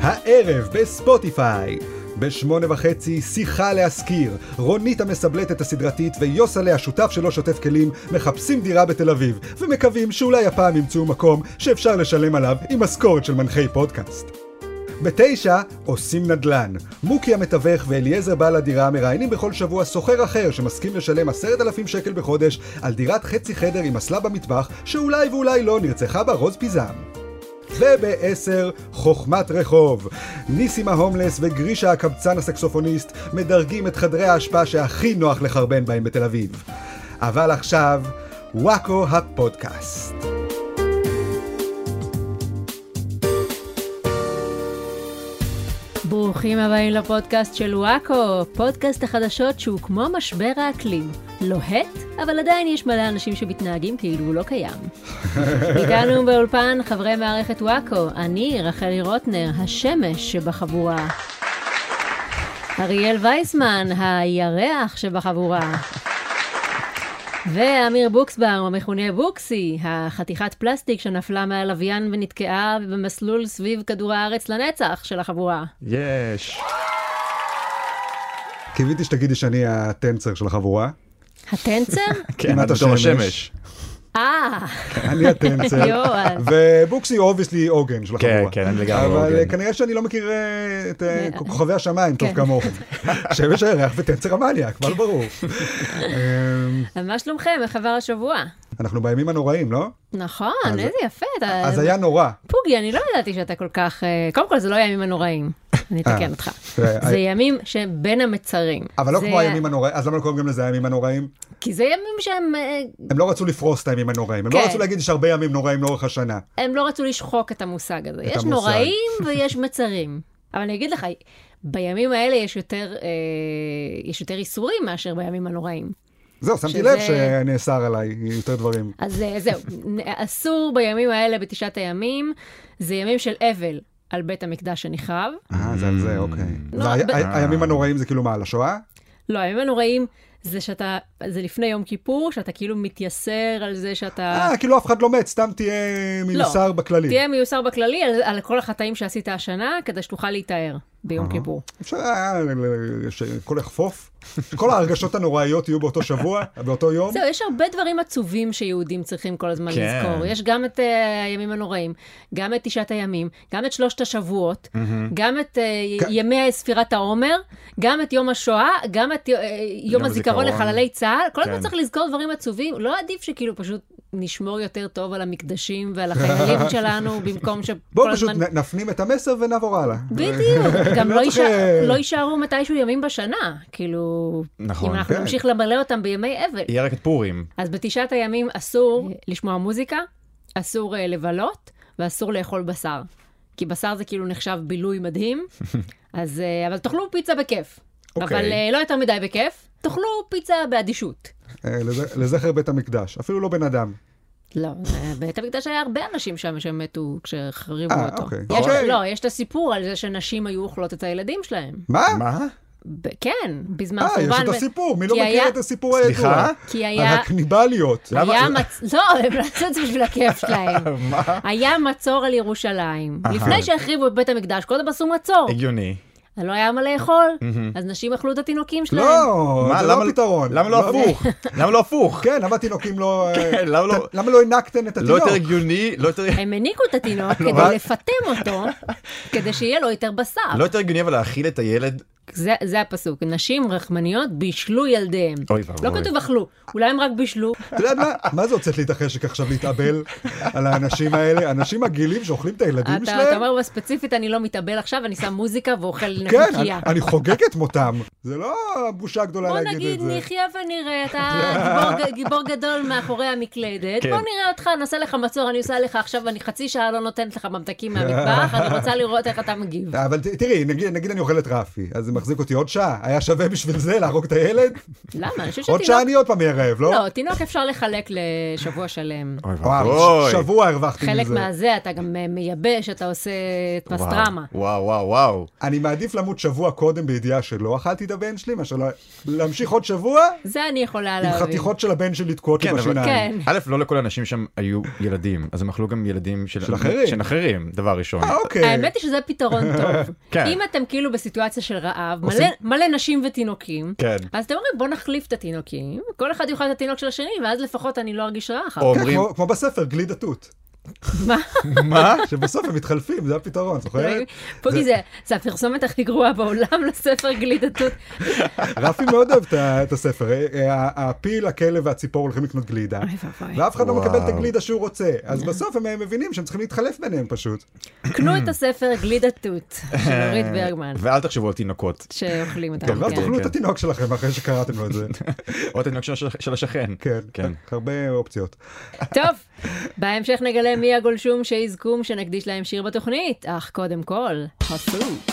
הערב בספוטיפיי. בשמונה וחצי, שיחה להשכיר. רונית המסבלטת הסדרתית ויוסלה השותף שלו שוטף כלים מחפשים דירה בתל אביב, ומקווים שאולי הפעם ימצאו מקום שאפשר לשלם עליו עם משכורת של מנחי פודקאסט. בתשע, עושים נדל"ן. מוקי המתווך ואליעזר בעל הדירה מראיינים בכל שבוע סוחר אחר שמסכים לשלם עשרת אלפים שקל בחודש על דירת חצי חדר עם אסלה במטבח, שאולי ואולי לא נרצחה בה רוז פיזם. וב-10 חוכמת רחוב. ניסים ההומלס וגרישה הקבצן הסקסופוניסט מדרגים את חדרי ההשפעה שהכי נוח לחרבן בהם בתל אביב. אבל עכשיו, וואקו הפודקאסט. ברוכים הבאים לפודקאסט של וואקו, פודקאסט החדשות שהוא כמו משבר האקלים. לוהט, אבל עדיין יש מלא אנשים שמתנהגים כאילו הוא לא קיים. איתנו באולפן חברי מערכת וואקו, אני רחלי רוטנר, השמש שבחבורה. אריאל וייסמן, הירח שבחבורה. ואמיר בוקסבאום, המכונה בוקסי, החתיכת פלסטיק שנפלה מהלוויין ונתקעה במסלול סביב כדור הארץ לנצח של החבורה. יש. קיוויתי שתגידי שאני הטנצר של החבורה. הטנצר? כן, כמעט את בתור השמש. השמש. אה, אני הטנצר. יואו, ובוקסי הוא אובייסלי עוגן של כן, החבורה. כן, אני לגמרי אבל אה, עוגן. כנראה שאני לא מכיר אה, את אה, אה, כוכבי השמיים טוב כן. כמוך. שמש הירח וטנצר המניאק, מה לא ברור. אה, אז מה שלומכם? איך עבר השבוע? אנחנו בימים הנוראים, לא? נכון, אז- איזה יפה. אתה- אז היה נורא. פוגי, אני לא ידעתי שאתה כל כך... אה, קודם כל, זה לא הימים הנוראים. אני אה. אתקן אותך. זה- זה ימים שהם בין המצרים. אבל לא זה- כמו הימים הנוראים, אז למה לא קוראים גם לזה הימים הנוראים? כי זה ימים שהם... אה, הם לא רצו לפרוס את הימים הנוראים, הם לא כן. רצו להגיד יש הרבה ימים נוראים לאורך השנה. הם לא רצו לשחוק את המושג הזה. יש המושג. נוראים ויש מצרים. אבל אני אגיד לך, בימים האלה יש יותר, אה, יש יותר איסורים מאשר בימים הנוראים. זהו, שמתי שזה- לב שנאסר עליי יותר דברים. אז אה, זהו, נ- אסור בימים האלה, בתשעת הימים, זה ימים של אבל על בית המקדש שנחרב. אה, זה על זה, אוקיי. לא, והי- ב- ה- הימים הנוראים זה כאילו מה, על השואה? לא, הימים הנוראים זה שאתה, זה לפני יום כיפור, שאתה כאילו מתייסר על זה שאתה... אה, כאילו אף אחד לא מת, סתם תהיה מיוסר בכללי. לא. תהיה מיוסר בכללי על, על כל החטאים שעשית השנה, כדי שתוכל להיטהר ביום כיפור. אפשר היה ל- ל- שהכל יחפוף, שכל ההרגשות הנוראיות יהיו באותו שבוע, באותו יום. זהו, יש הרבה דברים עצובים שיהודים צריכים כל הזמן כן. לזכור. יש גם את uh, הימים הנוראים, גם את תשעת הימים, גם את שלושת השבועות, גם את uh, כ- ימי ספירת העומר, גם את יום השואה, גם את uh, יום הזיכרון הזיכרון. לחללי צה"ל. כל הזמן כן. צריך לזכור דברים עצובים. לא עדיף שכאילו פשוט נשמור יותר טוב על המקדשים ועל החיילים שלנו, במקום שכל הזמן... בואו פשוט נ- נפנים את המסר ונעבור הלאה. בדיוק, גם לא לא, צריך, יישאר, אה, לא יישארו מתישהו ימים בשנה, כאילו, נכון, אם אנחנו כן. נמשיך למלא אותם בימי אבל. יהיה רק את פורים. אז בתשעת הימים אסור אה, לשמוע מוזיקה, אסור אה, לבלות ואסור לאכול בשר. כי בשר זה כאילו נחשב בילוי מדהים, אז, אה, אבל תאכלו פיצה בכיף. אוקיי. אבל אה, לא יותר מדי בכיף, תאכלו פיצה באדישות. אה, לז- לזכר בית המקדש, אפילו לא בן אדם. לא, אה, בית המקדש היה הרבה אנשים שם שמתו כשחריבו אה, אותו. אוקיי. יש, אוקיי. לא, יש את הסיפור על זה שנשים היו אוכלות את הילדים שלהם. מה? מה? ב- כן, בזמן אה, יש חורבן. את הסיפור, מי לא כי מכיר היה- את הסיפור הידוע? סליחה? על כי היה... הקניבליות. למה- היה מצ... לא, הם לא עשו את זה בשביל הכיף שלהם. מה? היה מצור על ירושלים. אהה. אה, לפני שהחריבו את בית המקדש, קודם עשו מצור. הגיוני. לא היה מה לאכול, אז נשים אכלו את התינוקים שלהם. לא, מה, זה לא למה- הפתרון. למה לא הפוך? למה לא הפוך? כן, למה התינוקים לא... אה, כן, למה לא- למה לא הענקתם את לא התינוק? יותר הגיוני, לא יותר- הם הניקו את התינוק אבל- כדי לפטם אותו, כדי שיהיה לו יותר בשר. לא יותר הגיוני אבל להאכיל את הילד. זה, זה הפסוק, נשים רחמניות בישלו ילדיהם. אוי ואבוי. לא כתוב אכלו, אולי הם רק בישלו. את יודעת מה? מה זה הוצאת לי את החשק עכשיו להתאבל על האנשים האלה? אנשים מגעילים שאוכלים את אתה, הילדים אתה שלהם? אומר, "אבל ספציפית אני לא מתאבל עכשיו, אני שם מוזיקה ואוכל כן, אני, נקניקייה. אני חוגג את מותם. זה לא בושה גדולה בוא להגיד את נגיד זה. נחיה ונראה, אתה גיבור, גיבור גדול מאחורי המקלדת, כן. בוא נראה אותך, נעשה לך מצור, אני עושה לך עכשיו, אני חצי שעה לא נותנת לך ממתקים מהמטבח, אני רוצה לראות איך אתה מגיב. אבל ת- תראי, נגיד, נגיד אני אוכל את רפי, אז זה מחזיק אותי עוד שעה. היה שווה בשביל זה להרוג את הילד? למה? אני חושבת עוד שעה שתינוק... אני עוד פעם אהיה רעב, לא? לא, תינוק אפשר לחלק לשבוע שלם. אוי וואו, ואבוי. ש- שבוע הרווחתי חלק מזה. מהזה אתה גם אה, מייבש, אתה עושה פסטרמה. וואו, וואו, וואו, וואו. אני מעדיף למות שבוע קודם בידיעה שלא אכלתי את הבן שלי, מאשר לה- להמשיך עוד שבוע זה אני יכולה עם להבין. חתיכות של הבן שלי תקועות לי כן, אבל... בשיניים. כן. א', לא לכל האנשים שם היו ילדים, אז הם אכלו גם ילדים של... של אחרים. של אחרים, דבר ראשון. אה, אוקיי. האמת היא שזה פתרון טוב. כן. אם אתם כאילו בסיטואציה של רעב, מלא, עושים- מלא נשים ותינוקים, כן. אז אתם אומרים בוא נחליף את התינוקים, כל אחד יאכל את התינוק של השני, ואז לפחות אני לא ארגיש רע אחר או כך. כן, אומרים, כמו- כמו בספר, גלידה תות. מה? אוקיי. מה? שבסוף הם מתחלפים, זה הפתרון, זוכרת? אוקיי? פוגי זה- זה הפרסומת הכי גרועה בעולם לספר גלידתות. רפי מאוד אוהב את ה- את הספר. אה, אה, הפיל, הכלב והציפור הולכים לקנות גלידה. אוי ואבוי. ואף אחד לא וואו. מקבל את הגלידה שהוא רוצה. אז בסוף הם אה, מבינים שהם צריכים להתחלף ביניהם פשוט. קנו את הספר גלידתות של אורית ברגמן, ואל תחשבו על תינוקות, שאוכלים אותה. כן, ואז כן. תאכלו את כן. התינוק שלכם אחרי שקראתם לו את זה. או את התינוק של הש- של השכן. כן, כן. הרבה אופציות. כן. טוב, בהמשך נגלה מי הגולשום שיזכום שנקדיש להם שיר בתוכנית, אך קודם כל, חסות.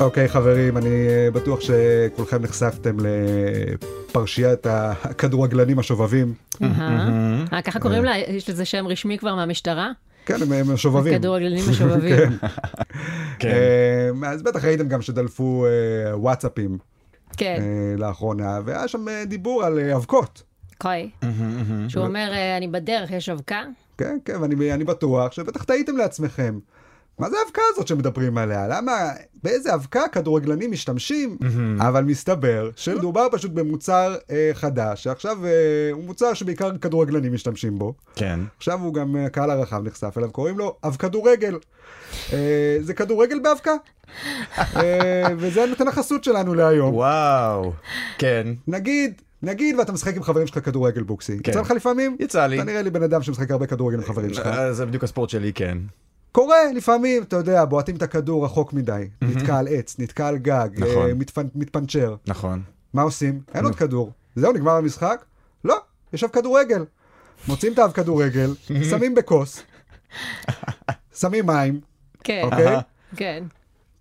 אוקיי חברים, אני אה, בטוח שכולכם נחשפתם לפרשיית הכדורגלנים השובבים. אהה. אה, ככה קוראים לה? יש לזה שם רשמי כבר מהמשטרה? כן, הם- הם שובבים. כדורגלנים משובבים. כן. אה, אז בטח ראיתם גם שדלפו אה, וואטסאפים כן, אה, לאחרונה, והיה שם אה, דיבור על אה, אבקות. קוי. שהוא אומר, אה, אני בדרך, יש אבקה? כן, כן, ואני אני בטוח שבטח טעיתם לעצמכם. מה זה האבקה הזאת שמדברים עליה? למה, באיזה אבקה כדורגלנים משתמשים? אבל מסתבר שמדובר פשוט במוצר אה, חדש, שעכשיו אה, הוא מוצר שבעיקר כדורגלנים משתמשים בו. כן. עכשיו הוא גם, אה, הקהל הרחב נחשף אליו, קוראים לו אבקדורגל. אה, זה כדורגל באבקה. אה, וזה נותן החסות שלנו להיום. וואו. כן. נגיד, נגיד ואתה משחק עם חברים שלך כדורגל בוקסי. כן. יצא לך לפעמים? יצא לי. אתה נראה לי בן אדם שמשחק הרבה כדורגל עם חברים שלך. אה, זה בדיוק הספורט שלי, כן. קורה לפעמים, אתה יודע, בועטים את הכדור רחוק מדי, נתקע על עץ, נתקע על גג, נכון. אה, מתפנ- מתפנצ'ר. נכון. מה עושים? אין עוד כדור. זהו, נגמר המשחק? לא, יש אב כדורגל. מוצאים את האב כדורגל, שמים בכוס, שמים מים, כן, אוקיי? כן.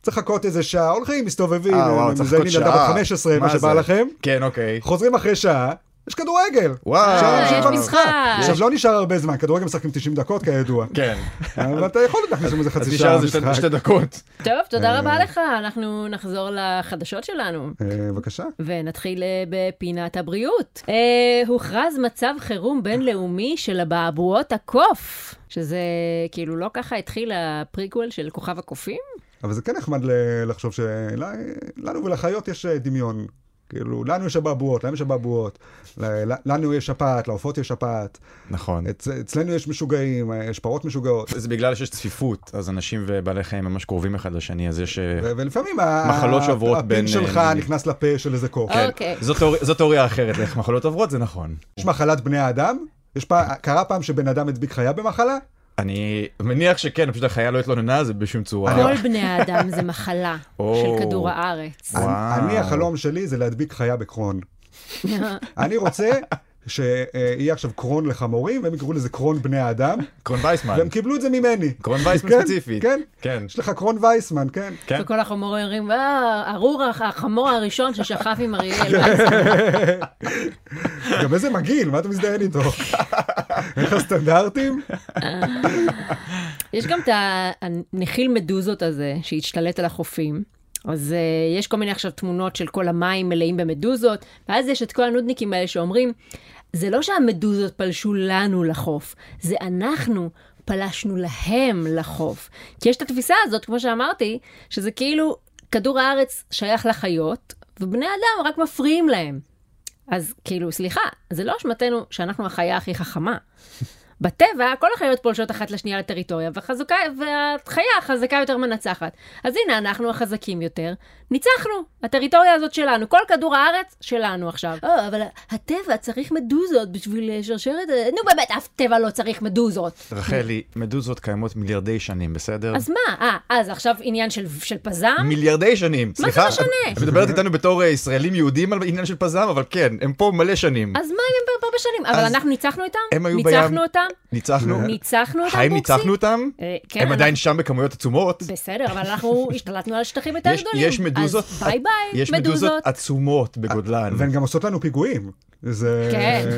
צריך לחכות איזה שעה, הולכים, מסתובבים, אה, וואו, צריך מזיינים לחכות ילדה שעה. בת 15, מה מה שבא זה? לכם, כן, אוקיי. חוזרים אחרי שעה, יש כדורגל. וואו. שעה אה, של יש במשחק. משחק. עכשיו, לא נשאר הרבה זמן, כדורגל משחקים 90 דקות כידוע. אה, כן. אבל אתה יכול להכניס שם איזה אז חצי נשאר שעה איזה שתי- משחק. שתי דקות. טוב, תודה רבה לך, אנחנו נחזור לחדשות שלנו. אה, בבקשה. ונתחיל אה, בפינת הבריאות. אה, הוכרז מצב חירום בינלאומי של אבעבועות הקוף, שזה כאילו לא ככה התחיל הפריקוול של כוכב הקופים? אבל זה כן נחמד ל- לחשוב שלנו ולחיות יש אה, דמיון. כאילו, לנו יש אבעבועות, להם יש אבעבועות, ל- ל- לנו יש שפעת, לעופות יש שפעת, נכון. אצ- אצלנו יש משוגעים, אה, יש פרות משוגעות. זה בגלל שיש צפיפות, אז אנשים ובעלי חיים ממש קרובים אחד לשני, אז יש... אה, ו- ולפעמים ה- מחלות ה- שעוברות בין, הפין שלך אה, נכנס לפה של איזה קוף. אה. אוקיי. זו תיאוריה- זו תיאוריה אחרת לאיך מחלות עוברות, זה נכון. יש מחלת בני האדם? יש פעם, קרה פעם שבן אדם הדביק חיה במחלה? אני מניח שכן, פשוט החיה לא התלוננה על זה בשום צורה. כל בני האדם זה מחלה או. של כדור הארץ. וואו. אני- אני, החלום שלי זה להדביק חיה בקרון. אני רוצה שיהיה עכשיו קרון לחמורים, והם יקראו לזה קרון בני האדם, קרון וייסמן. והם קיבלו את זה ממני. קרון וייסמן כן, ספציפית. כן. כן. יש לך קרון וייסמן, כן. כן. וכל החמורים אומרים, אה, ארור הח- החמור הראשון ששכב עם אריאל. גם איזה מגעיל, מה אתה מזדיין איתו? אין לך סטנדרטים? יש גם את הנחיל מדוזות הזה שהשתלט על החופים. אז uh, יש כל מיני עכשיו תמונות של כל המים מלאים במדוזות, ואז יש את כל הנודניקים האלה שאומרים, זה לא שהמדוזות פלשו לנו לחוף, זה אנחנו פלשנו להם לחוף. כי יש את התפיסה הזאת, כמו שאמרתי, שזה כאילו כדור הארץ שייך לחיות, ובני אדם רק מפריעים להם. אז כאילו, סליחה, זה לא אשמתנו שאנחנו החיה הכי חכמה. בטבע, כל החיות פולשות אחת לשנייה לטריטוריה, והחזקה, והחיה החזקה יותר מנצחת. אז הנה, אנחנו החזקים יותר, ניצחנו. הטריטוריה הזאת שלנו, כל כדור הארץ שלנו עכשיו. או, אבל הטבע צריך מדוזות בשביל אה, שרשרת... אה, נו באמת, אף טבע לא צריך מדוזות. רחלי, מדוזות קיימות מיליארדי שנים, בסדר? אז מה? אה, אז עכשיו עניין של, של פזם? מיליארדי שנים, סליחה. אה? משנה? את מדברת איתנו בתור אה, ישראלים יהודים על עניין של פזם, אבל כן, הם פה מלא שנים. אה, אז מה אם הם הרבה שנים? אבל אז אנחנו ניצחנו אותם? הם היו ניצחנו בים- אותם? ניצחנו? ניצחנו אותם האם בוקסים? ניצחנו אותם? אה, כן, הם אנחנו- עדיין שם בכמויות עצומות? בסדר, אבל אנחנו השתלטנו על שטחים יותר יש- גדולים. יש מדוזות? אז ביי ביי, יש מדוזות. מדוזות עצומות בגודלן. והן גם עושות לנו פיגועים. זה... כן.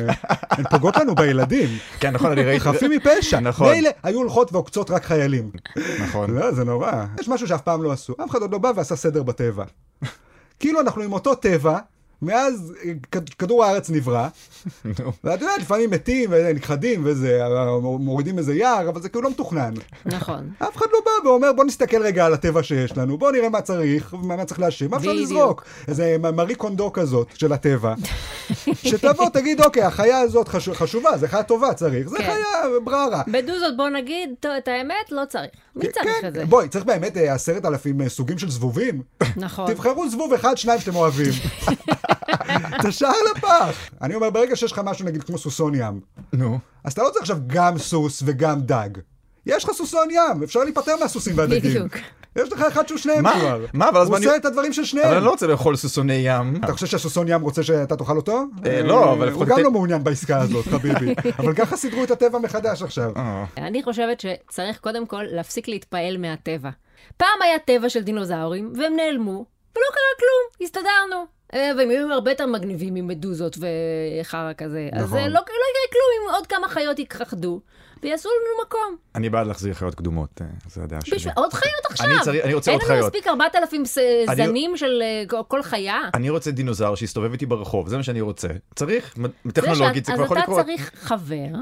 הן פוגעות לנו בילדים. כן, נכון, אני ראיתי... חפים מפשע. נכון. מילא היו הולכות ועוקצות רק חיילים. נכון. לא, זה נורא. יש משהו שאף פעם לא עשו. אף אחד עוד לא בא ועשה סדר בטבע. כאילו אנחנו עם אותו טבע, מאז אה, כ- כדור הארץ נברא, נו. ואת יודעת, לפעמים מתים ונכחדים וזה, אה, מורידים איזה יער, אבל זה כאילו לא מתוכנן. נכון. אף אחד לא בא ואומר, בוא נסתכל רגע על הטבע שיש לנו, בוא נראה מה צריך, מה מה צריך להאשים, מה אפשר בדיוק. לזרוק. איזה מ- מארי קונדו כזאת של הטבע, שתבוא, תגיד, אוקיי, החיה הזאת חש- חשובה, זו חיה טובה, צריך, זה כן. חיה בררה. מדוזות, בוא נגיד טוב, את האמת, לא צריך. מי צריך כן, את זה? בואי, צריך באמת אה, עשרת אלפים אה, סוגים של זבובים? נכון. תבחרו זבוב אחד, שניים שאתם אוהבים. את השאר לפח. אני אומר, ברגע שיש לך משהו, נגיד, כמו סוסון ים, נו. אז אתה לא צריך עכשיו גם סוס וגם דג. יש לך סוסון ים, אפשר להיפטר מהסוסים והדגים. בדיוק. יש לך אחד שהוא שניהם מה? כבר. מה, אבל אז הוא מה אני- עושה את הדברים של אבל אני שניהם. לא רוצה לאכול סוסוני ים. אתה חושב שהסוסון ים רוצה שאתה תאכל אותו? אה, לא, אבל הוא לפחות גם ת- לא מעוניין בעסקה הזאת, חביבי. אבל ככה סידרו את הטבע מחדש עכשיו. אה, אני חושבת שצריך קודם כל להפסיק להתפעל מהטבע. פעם היה טבע של דינוזאורים, והם נעלמו, ולא קרה כלום, הסתדרנו. אה, והם היו הרבה יותר מגניבים ממדוזות וחרא כזה. אז נכון. אה, לא, לא יקרה כלום אם עוד כמה חיות יכחדו, ויעשו לנו מקום. אני בעד להחזיר חיות קדומות, אה, זה הדעה שלי. בשביל עוד חיות עכשיו. אני צריך- אני רוצה עוד אין לנו חיות. מספיק 4,000 ס- אני- זנים של אה, כל- כל חיה. אני רוצה דינוזאור שיסתובב איתי ברחוב, זה מה שאני רוצה. צריך, מ- זה טכנולוגית שאת- זה כבר יכול לקרות. אז אתה צריך חבר,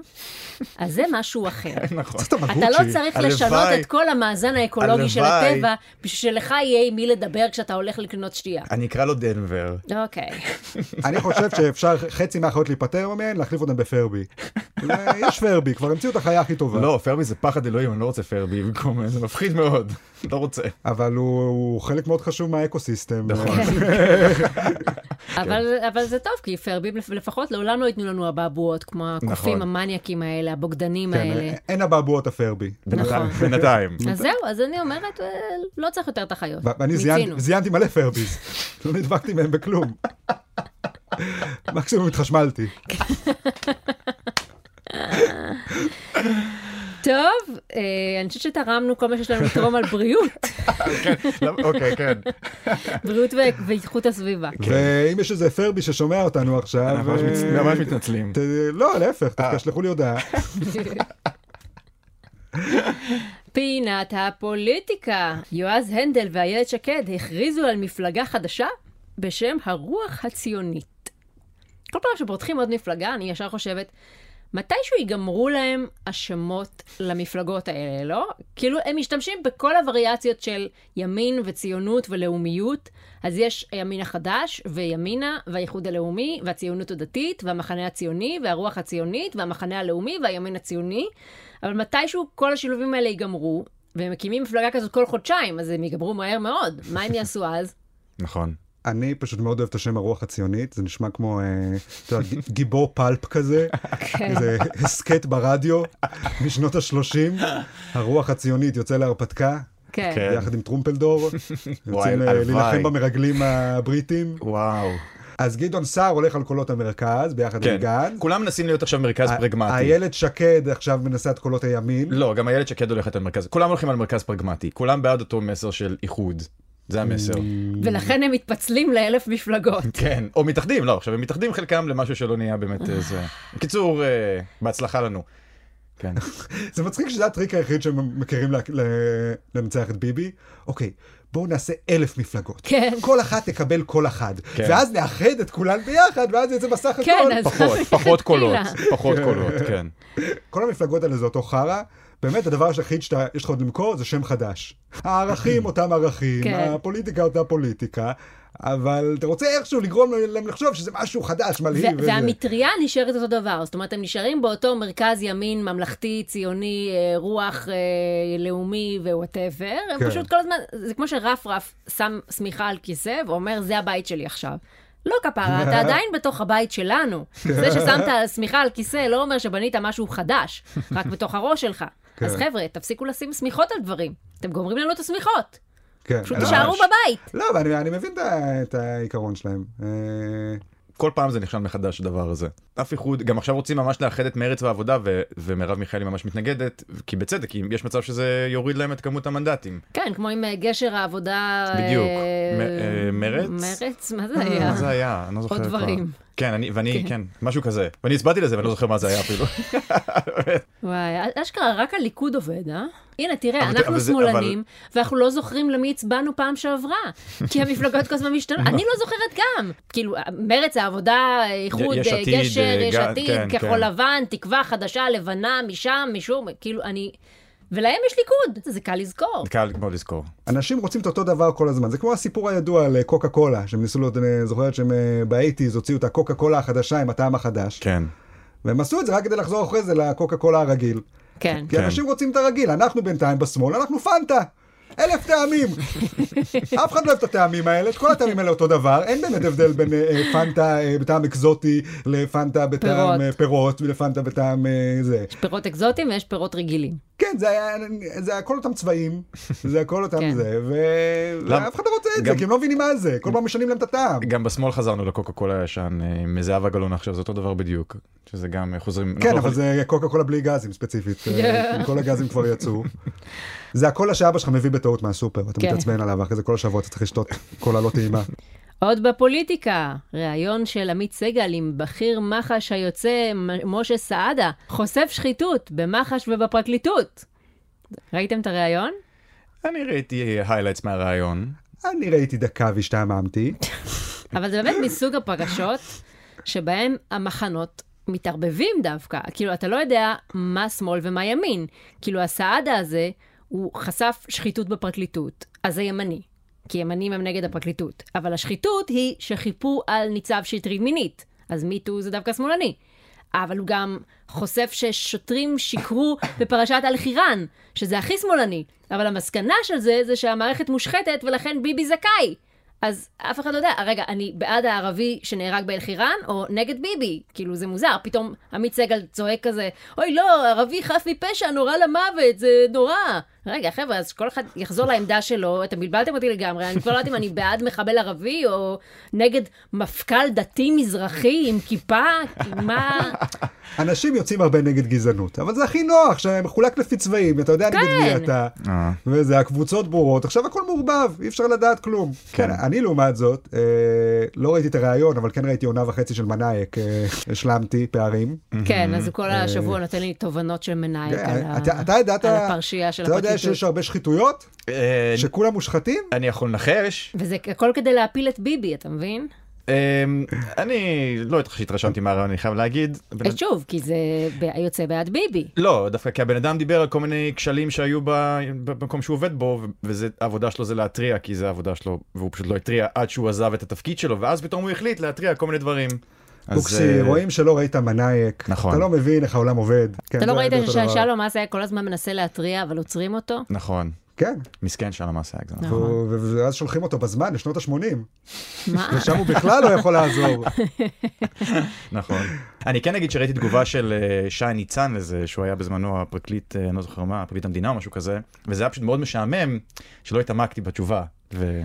אז זה משהו אחר. נכון. אתה אתה לא צריך הלוואי. לשנות את כל המאזן האקולוגי של הלוואי. הטבע, בשביל שלך יהיה עם מי לדבר כשאתה הולך לקנות שתייה. אני אקרא לו דנבר. אוקיי. אני חושב שאפשר חצי מהחיות להיפטר מהן, להחליף אותן בפרבי. זה- יש פרבי, כבר המציאו את החיה הכי טובה. לא, פרבי זה פחד אלוהים, אני לא רוצה פרבי במקום, זה מפחיד מאוד. לא רוצה. אבל הוא, הוא חלק מאוד חשוב מהאקוסיסטם. כן, נכון. אבל, אבל זה טוב, כי פרבים לפ- לפחות לעולם לא ייתנו לנו אבעבועות, כמו הקופים נכון. המניאקים האלה, הבוגדנים כן, האלה. אין אבעבועות הפרבי. נכון. בינתיים- בינתיים. אז זהו, אז אני אומרת, אה, לא צריך יותר את החיות. ו- ואני מיצינו. זיינ- זיינתי מלא פרביז, לא נדבקתי מהם בכלום. מקסימום התחשמלתי. כן. טוב, אה, אני חושבת שתרמנו כל מה שיש לנו לתרום על בריאות, למה- אוקיי, כן. בריאות ו- ואיכות הסביבה. ואם יש איזה פרבי ששומע אותנו עכשיו... אנחנו ממש מצ- אה, ממש מתנצלים. ת- לא, להפך, אה. תשלחו לי הודעה. פינת הפוליטיקה. יועז הנדל ואיילת שקד הכריזו על מפלגה חדשה בשם הרוח הציונית. כל פעם שפותחים עוד מפלגה, אני ישר חושבת, מתישהו ייגמרו להם השמות למפלגות האלה, לא? כאילו, הם משתמשים בכל הווריאציות של ימין וציונות ולאומיות. אז יש הימין החדש, וימינה, והאיחוד הלאומי, והציונות הדתית, והמחנה הציוני, והרוח הציונית, והמחנה הלאומי, והימין הציוני. אבל מתישהו כל השילובים האלה ייגמרו, והם מקימים מפלגה כזאת כל חודשיים, אז הם ייגמרו מהר מאוד. מה הם יעשו אז? נכון. אני פשוט מאוד אוהב את השם הרוח הציונית, זה נשמע כמו, אה, אתה יודע, ג- גיבור פלפ כזה, כן. איזה הסכת ברדיו משנות ה-30, הרוח הציונית יוצא להרפתקה. כן. כן. יחד עם טרומפלדור, וואי, יוצאים אה, הלוואי. להילחם במרגלים הבריטים. וואו. אז גדעון סער הולך על קולות המרכז ביחד עם כן. גנץ. כולם מנסים להיות עכשיו מרכז א- פרגמטי. איילת שקד עכשיו מנסה את קולות הימין. לא, גם איילת שקד הולכת על מרכז. כולם הולכים על מרכז פרגמטי. כולם בעד אותו מסר של איחוד. זה המסר. Mm. ולכן הם מתפצלים לאלף מפלגות. כן, או מתאחדים, לא, עכשיו הם מתאחדים חלקם למשהו שלא נהיה באמת איזה... בקיצור, אה, בהצלחה לנו. כן. זה מצחיק שזה הטריק היחיד שהם מכירים לה- ל- לנצח את ביבי. אוקיי, בואו נעשה אלף מפלגות. כן. כל אחת תקבל קול אחד. כן. ואז נאחד את כולן ביחד, ואז יצא בסך הכל. כן, אז- פחות, פחות קולות, פחות כן. קולות, כן. כל המפלגות האלה זה אותו חרא. באמת, הדבר היחיד שאתה- יש לך עוד למכור זה שם חדש. הערכים אותם ערכים, כן. הפוליטיקה אותה פוליטיקה, אבל אתה רוצה איכשהו לגרום להם לחשוב שזה משהו חדש, מלהיב. ו- וזה. והמטריה נשארת אותו דבר, זאת אומרת, הם נשארים באותו מרכז ימין ממלכתי, ציוני, אה, רוח אה, לאומי ווואטאבר, הם כן. פשוט כל הזמן, זה כמו שרפרף שם שמיכה על כיסא ואומר, זה הבית שלי עכשיו. לא כפרה, אתה עדיין בתוך הבית שלנו. זה ששמת שמיכה על כיסא לא אומר שבנית משהו חדש, רק בתוך הראש שלך. כן. אז חבר'ה, תפסיקו לשים שמיכות על דברים. אתם גומרים לנו את השמיכות. כן. פשוט לא, תישארו ממש. בבית. לא, אבל אני, אני מבין את, ה- את העיקרון שלהם. אה, כל פעם זה נכשל מחדש הדבר הזה. אף איחוד, גם עכשיו רוצים ממש לאחד את מרצ והעבודה, ו- ומרב מיכאלי ממש מתנגדת, כי בצדק, כי יש מצב שזה יוריד להם את כמות המנדטים. כן, כמו עם אה, גשר העבודה... בדיוק. אה, מ- אה, מרץ? אה, מרץ? מה זה מה היה? זה היה? אני לא זוכר אה. עוד כבר. דברים. כן, אני, ואני, כן, משהו כזה. ואני הצבעתי לזה ואני לא זוכר מה זה היה אפילו. וואי, אשכרה, רק הליכוד עובד, אה? הנה, תראה, אבל- אנחנו אבל זה- שמאלנים, ואנחנו לא זוכרים למי הצבענו פעם שעברה, כי המפלגות כל הזמן משתנות. אני לא זוכרת גם. כאילו, מרץ, העבודה, איחוד, יש אה, עתיד, גשר, אה, יש גן, עתיד, כן, כחול כן. לבן, תקווה חדשה, לבנה, משם, משום, כאילו, אני... ולהם יש ליכוד, זה קל לזכור. קל מאוד לזכור. אנשים רוצים את אותו דבר כל הזמן, זה כמו הסיפור הידוע על אה, קוקה קולה, שהם ניסו, להיות, אני זוכרת שהם אה, באייטיז הוציאו את הקוקה קולה החדשה עם הטעם החדש, כן. והם עשו את זה רק כדי לחזור אחרי זה לקוקה קולה הרגיל. כן. כי כן. אנשים רוצים את הרגיל, אנחנו בינתיים בשמאל, אנחנו פנטה. אלף טעמים. אף אחד לא אוהב את הטעמים האלה, את כל הטעמים האלה אותו דבר, אין באמת הבדל בין אה, אה, פנטה אה, בטעם אקזוטי לפנטה פירות. בטעם אה, פירות ולפנטה בטעם אה, זה. יש פירות אקזוטיים ויש פירות רגילים. כן, זה היה, זה הכל אותם צבעים, זה הכל כן. אותם זה, ו... למ- ואף אחד לא רוצה את זה, גם- כי הם לא מבינים מה זה, כל פעם משנים להם את הטעם. גם בשמאל חזרנו לקוקה קולה הישן, אה, עם זהבה גלאון עכשיו, זה אותו דבר בדיוק. שזה גם אה, חוזרים... אנחנו כן, לא אבל יכולים- זה קוקה קולה בלי גזים ספציפית, אה, Yeah. כל הגזים כבר יצאו. זה הקולה שאבא שלך מביא בטעות מהסופר, ואתה כן. מתעצבן עליו, ואחרי זה כל השבוע אתה צריך לשתות קולה לא טעימה. עוד בפוליטיקה, ראיון של עמית סגל עם בכיר מח"ש היוצא מ- משה סעדה, חושף שחיתות במח"ש ובפרקליטות. ראיתם את הראיון? אני ראיתי highlights מהראיון. אני ראיתי דקה והשתעממתי. אבל זה באמת מסוג הפרשות שבהם המחנות מתערבבים דווקא. כאילו, אתה לא יודע מה שמאל ומה ימין. כאילו, הסעדה הזה, הוא חשף שחיתות בפרקליטות, אז זה ימני. כי ימנים הם נגד הפרקליטות. אבל השחיתות היא שחיפו על ניצב שטרית מינית. אז מיטו זה דווקא שמאלני. אבל הוא גם חושף ששוטרים שיקרו בפרשת אל-חיראן, שזה הכי שמאלני. אבל המסקנה של זה, זה שהמערכת מושחתת ולכן ביבי זכאי. אז אף אחד לא יודע, רגע, אני בעד הערבי שנהרג באל-חיראן, או נגד ביבי? כאילו, זה מוזר. פתאום עמית סגל צועק כזה, אוי, לא, ערבי חף מפשע, נורא למוות, זה נורא. רגע, חבר'ה, אז שכל אחד יחזור לעמדה שלו, אתם בלבלתם אותי לגמרי, אני כבר לא יודעת אם אני בעד מחבל ערבי, או נגד מפכ"ל דתי-מזרחי עם כיפה, מה... אנשים יוצאים הרבה נגד גזענות, אבל זה הכי נוח, שמחולק לפי צבעים, אתה יודע נגד מי כן. אתה. אה. וזה הקבוצות ברורות, עכשיו הכל מעורבב, אי אפשר לדעת כלום. כן. כן, אני לעומת זאת, אה, לא ראיתי את הראיון, אבל כן ראיתי עונה וחצי של מנאייק, אה, השלמתי פערים. כן, אז הוא כל השבוע נותן לי תובנות של מנהל Mm-hmm. אה, על אתה- אתה ה- ידעת- על הפרשייה של אתה יודע שיש הפרקליטות. הרבה שחיתויות? אה, שכולם מושחתים? אני יכול לנחש? וזה הכל כדי להפיל את ביבי, אתה מבין? אה, אני לא התרשמתי מהראיון, אני חייב להגיד. בן- אז אה, שוב, כי זה ב- יוצא בעד ביבי. לא, דווקא כי הבן אדם דיבר על כל מיני כשלים שהיו ב- במקום שהוא עובד בו, ו- וזה, העבודה שלו זה להתריע, כי זה העבודה שלו, והוא פשוט לא התריע עד שהוא עזב את התפקיד שלו, ואז פתאום הוא החליט להתריע כל מיני דברים. אז, בוקסי, אה, רואים שלא ראית מנאייק. נכון. אתה לא מבין איך העולם עובד. כן, אתה לא זה- ראית זה אותו דבר. ששלום אס היה כל הזמן מנסה להתריע, אבל עוצרים אותו? נכון. כן. מסכן שלום אסייג. זה נכון. נכון. והוא- ו- ואז שולחים אותו בזמן, לשנות ה-80. מה? ושם הוא בכלל לא יכול לעזור. נכון. אני כן אגיד שראיתי תגובה של אה, שי ניצן לזה, שהוא היה בזמנו הפרקליט, אה, אני לא זוכר מה, פרקליט המדינה או משהו כזה, וזה היה פשוט מאוד משעמם, שלא התעמקתי בתשובה. ו...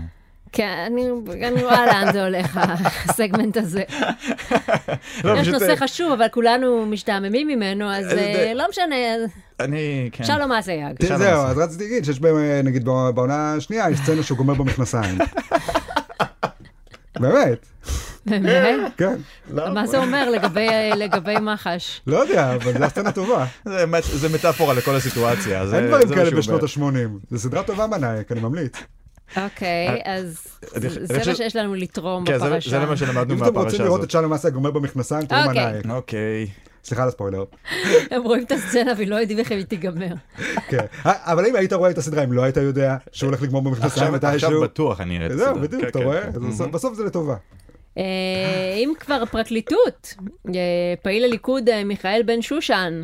כן, אני אני רואה לאן זה הולך, הסגמנט הזה. לא, יש פשוט, נושא אה, חשוב, אבל כולנו משתעממים ממנו, אז אז אה, די. לא משנה, אני, כן. שלום אס היה. תראה, שלום, זהו, אסי. אז רציתי להגיד שיש בהם, אה, נגיד בע- בעונה השנייה, יש סצנה שהוא גומר במכנסיים. באמת, אה, באמת? כן. לא, מה זה אומר לגבי- לגבי מח"ש? לא יודע, אבל זו הסצנה טובה. זה, מת- זה מטאפורה לכל הסיטואציה. זה- אין דברים זה מה כאלה שהוא בשנות אומר. ה-80. זו סדרה טובה מנאייק, אני ממליץ. אוקיי, אז אה, אני זה- חושב- זה מה שיש לנו לתרום כן, זה- זה בפרשה. מה שלמדנו אם אתם רוצים מהפרשה לראות הזאת. את שלום אסיה גומר במכנסיים, תראו אוקיי. מנאייק. אוקיי. סליחה על הספוילר. הם רואים את הסצנה ולא יודעים איך היא תיגמר. כן. אה, אבל אם היית רואה את הסדרה, אם לא היית יודע שהוא הולך לגמור במכנסיים עכשיו עכשיו מתישהו... בטוח אני אראה את זהו, הסדרה. בדיוק, כן, אתה כן, רואה? כן. אז בסוף- בסוף זה לטובה. אה, אם כבר פרקליטות, אה, פעיל הליכוד אה, מיכאל בן שושן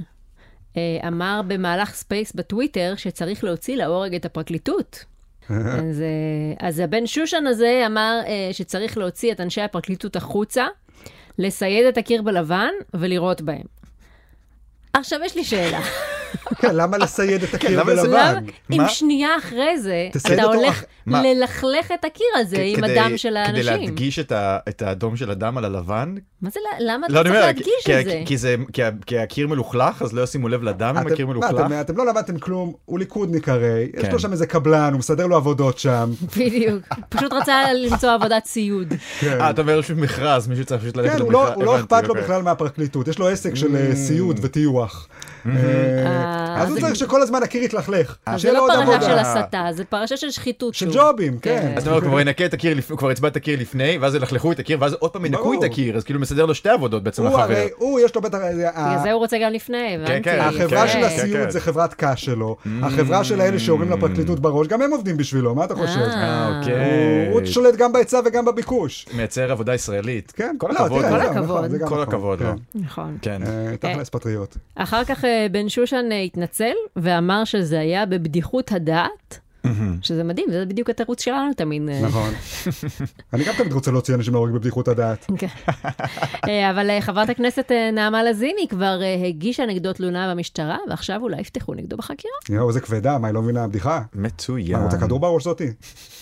אה, אמר במהלך ספייס בטוויטר שצריך להוציא להורג את הפרקליטות. אז, אה, אז הבן שושן הזה אמר אה, שצריך להוציא את אנשי הפרקליטות החוצה, לסייד את הקיר בלבן ולירות בהם. עכשיו יש לי שאלה. כן, למה לסייד את הקיר למה לסייד? בלבן? למה- אם אה, מה? אה, שנייה אחרי זה, תסייד אתה אותו הולך אח- מה? ללכלך את הקיר הזה כ- עם כדי- הדם של כדי האנשים. להדגיש את ה- את האדום של הדם על הלבן? מה זה, ל- למה אתה לא, צריך אני אומר, להדגיש כי- את זה? כי זה- כי ה- כי הקיר מלוכלך, אז לא ישימו לב לדם אם אתם- הקיר מה, מלוכלך. אה, אתם- אתם לא למדתם כלום, הוא ליכודניק הרי, יש כן. אה, לו שם איזה קבלן, הוא מסדר לו עבודות שם. בדיוק. פשוט רצה למצוא עבודת ציוד. כן. אה, אתה אומר פשוט מכרז, מישהו צריך פשוט ללכת כן, הוא לא- למכרז. הוא לא הבנתי, אכפת לו אוקיי. Mm. בכלל מהפרקליטות, יש לו עסק של אה, סיוד וטיוח. Mm-hmm. אה, אה, אז הוא זה- צריך שכל הזמן הקיר יתלכלך. אז זה שיהיה לא לו עוד פרשה של עבודה. הסתה, זה פרשה של שחיתות. של שוב. ג'ובים, כן. אז אתה אומר, כבר ינקה את הקיר, לפ- כבר יצבע את הקיר לפני, ואז ילכלכו את הקיר, ואז עוד פעם ינקו ברור. את הקיר, אז כאילו מסדר לו שתי עבודות בעצם הוא לחבר. הרי, הוא יש לו בטח... אה, בגלל ה- זה הוא רוצה גם לפני, הבנתי. כן, החברה כן, של כן, הסיוד כן. Mm. זה חברת קש שלו, החברה של האלה שאומרים לפרקליטות בראש, גם הם עובדים בשבילו, מה אתה חושב? אה, אוקיי. הוא- הוא שולט גם בהיצע וגם בביקוש. מייצר עבודה ישראלית. כן, כל לא, הכבוד. תראה, כל זהו, הכבוד. נכון, זה גם כל נכון, הכבוד לו. כן. נכון. כן. אה, תכלס פטריוט. אחר כך אה, בן שושן אה, התנצל ואמר שזה היה בבדיחות הדעת, שזה מדהים, זה בדיוק התירוץ שלנו תמיד. אה, נכון. אני גם תמיד רוצה להוציא אנשים להורג בבדיחות הדעת. כן. אה, אבל אה, חברת הכנסת אה, נעמה לזיני כבר אה, הגישה נגדו תלונה במשטרה, ועכשיו אולי יפתחו נגדו בחקירה. יואו, איזה כבדה, מה, היא לא מבינה הבדיחה? מה, מצוין. היא רוצה כדור בראש זאתי?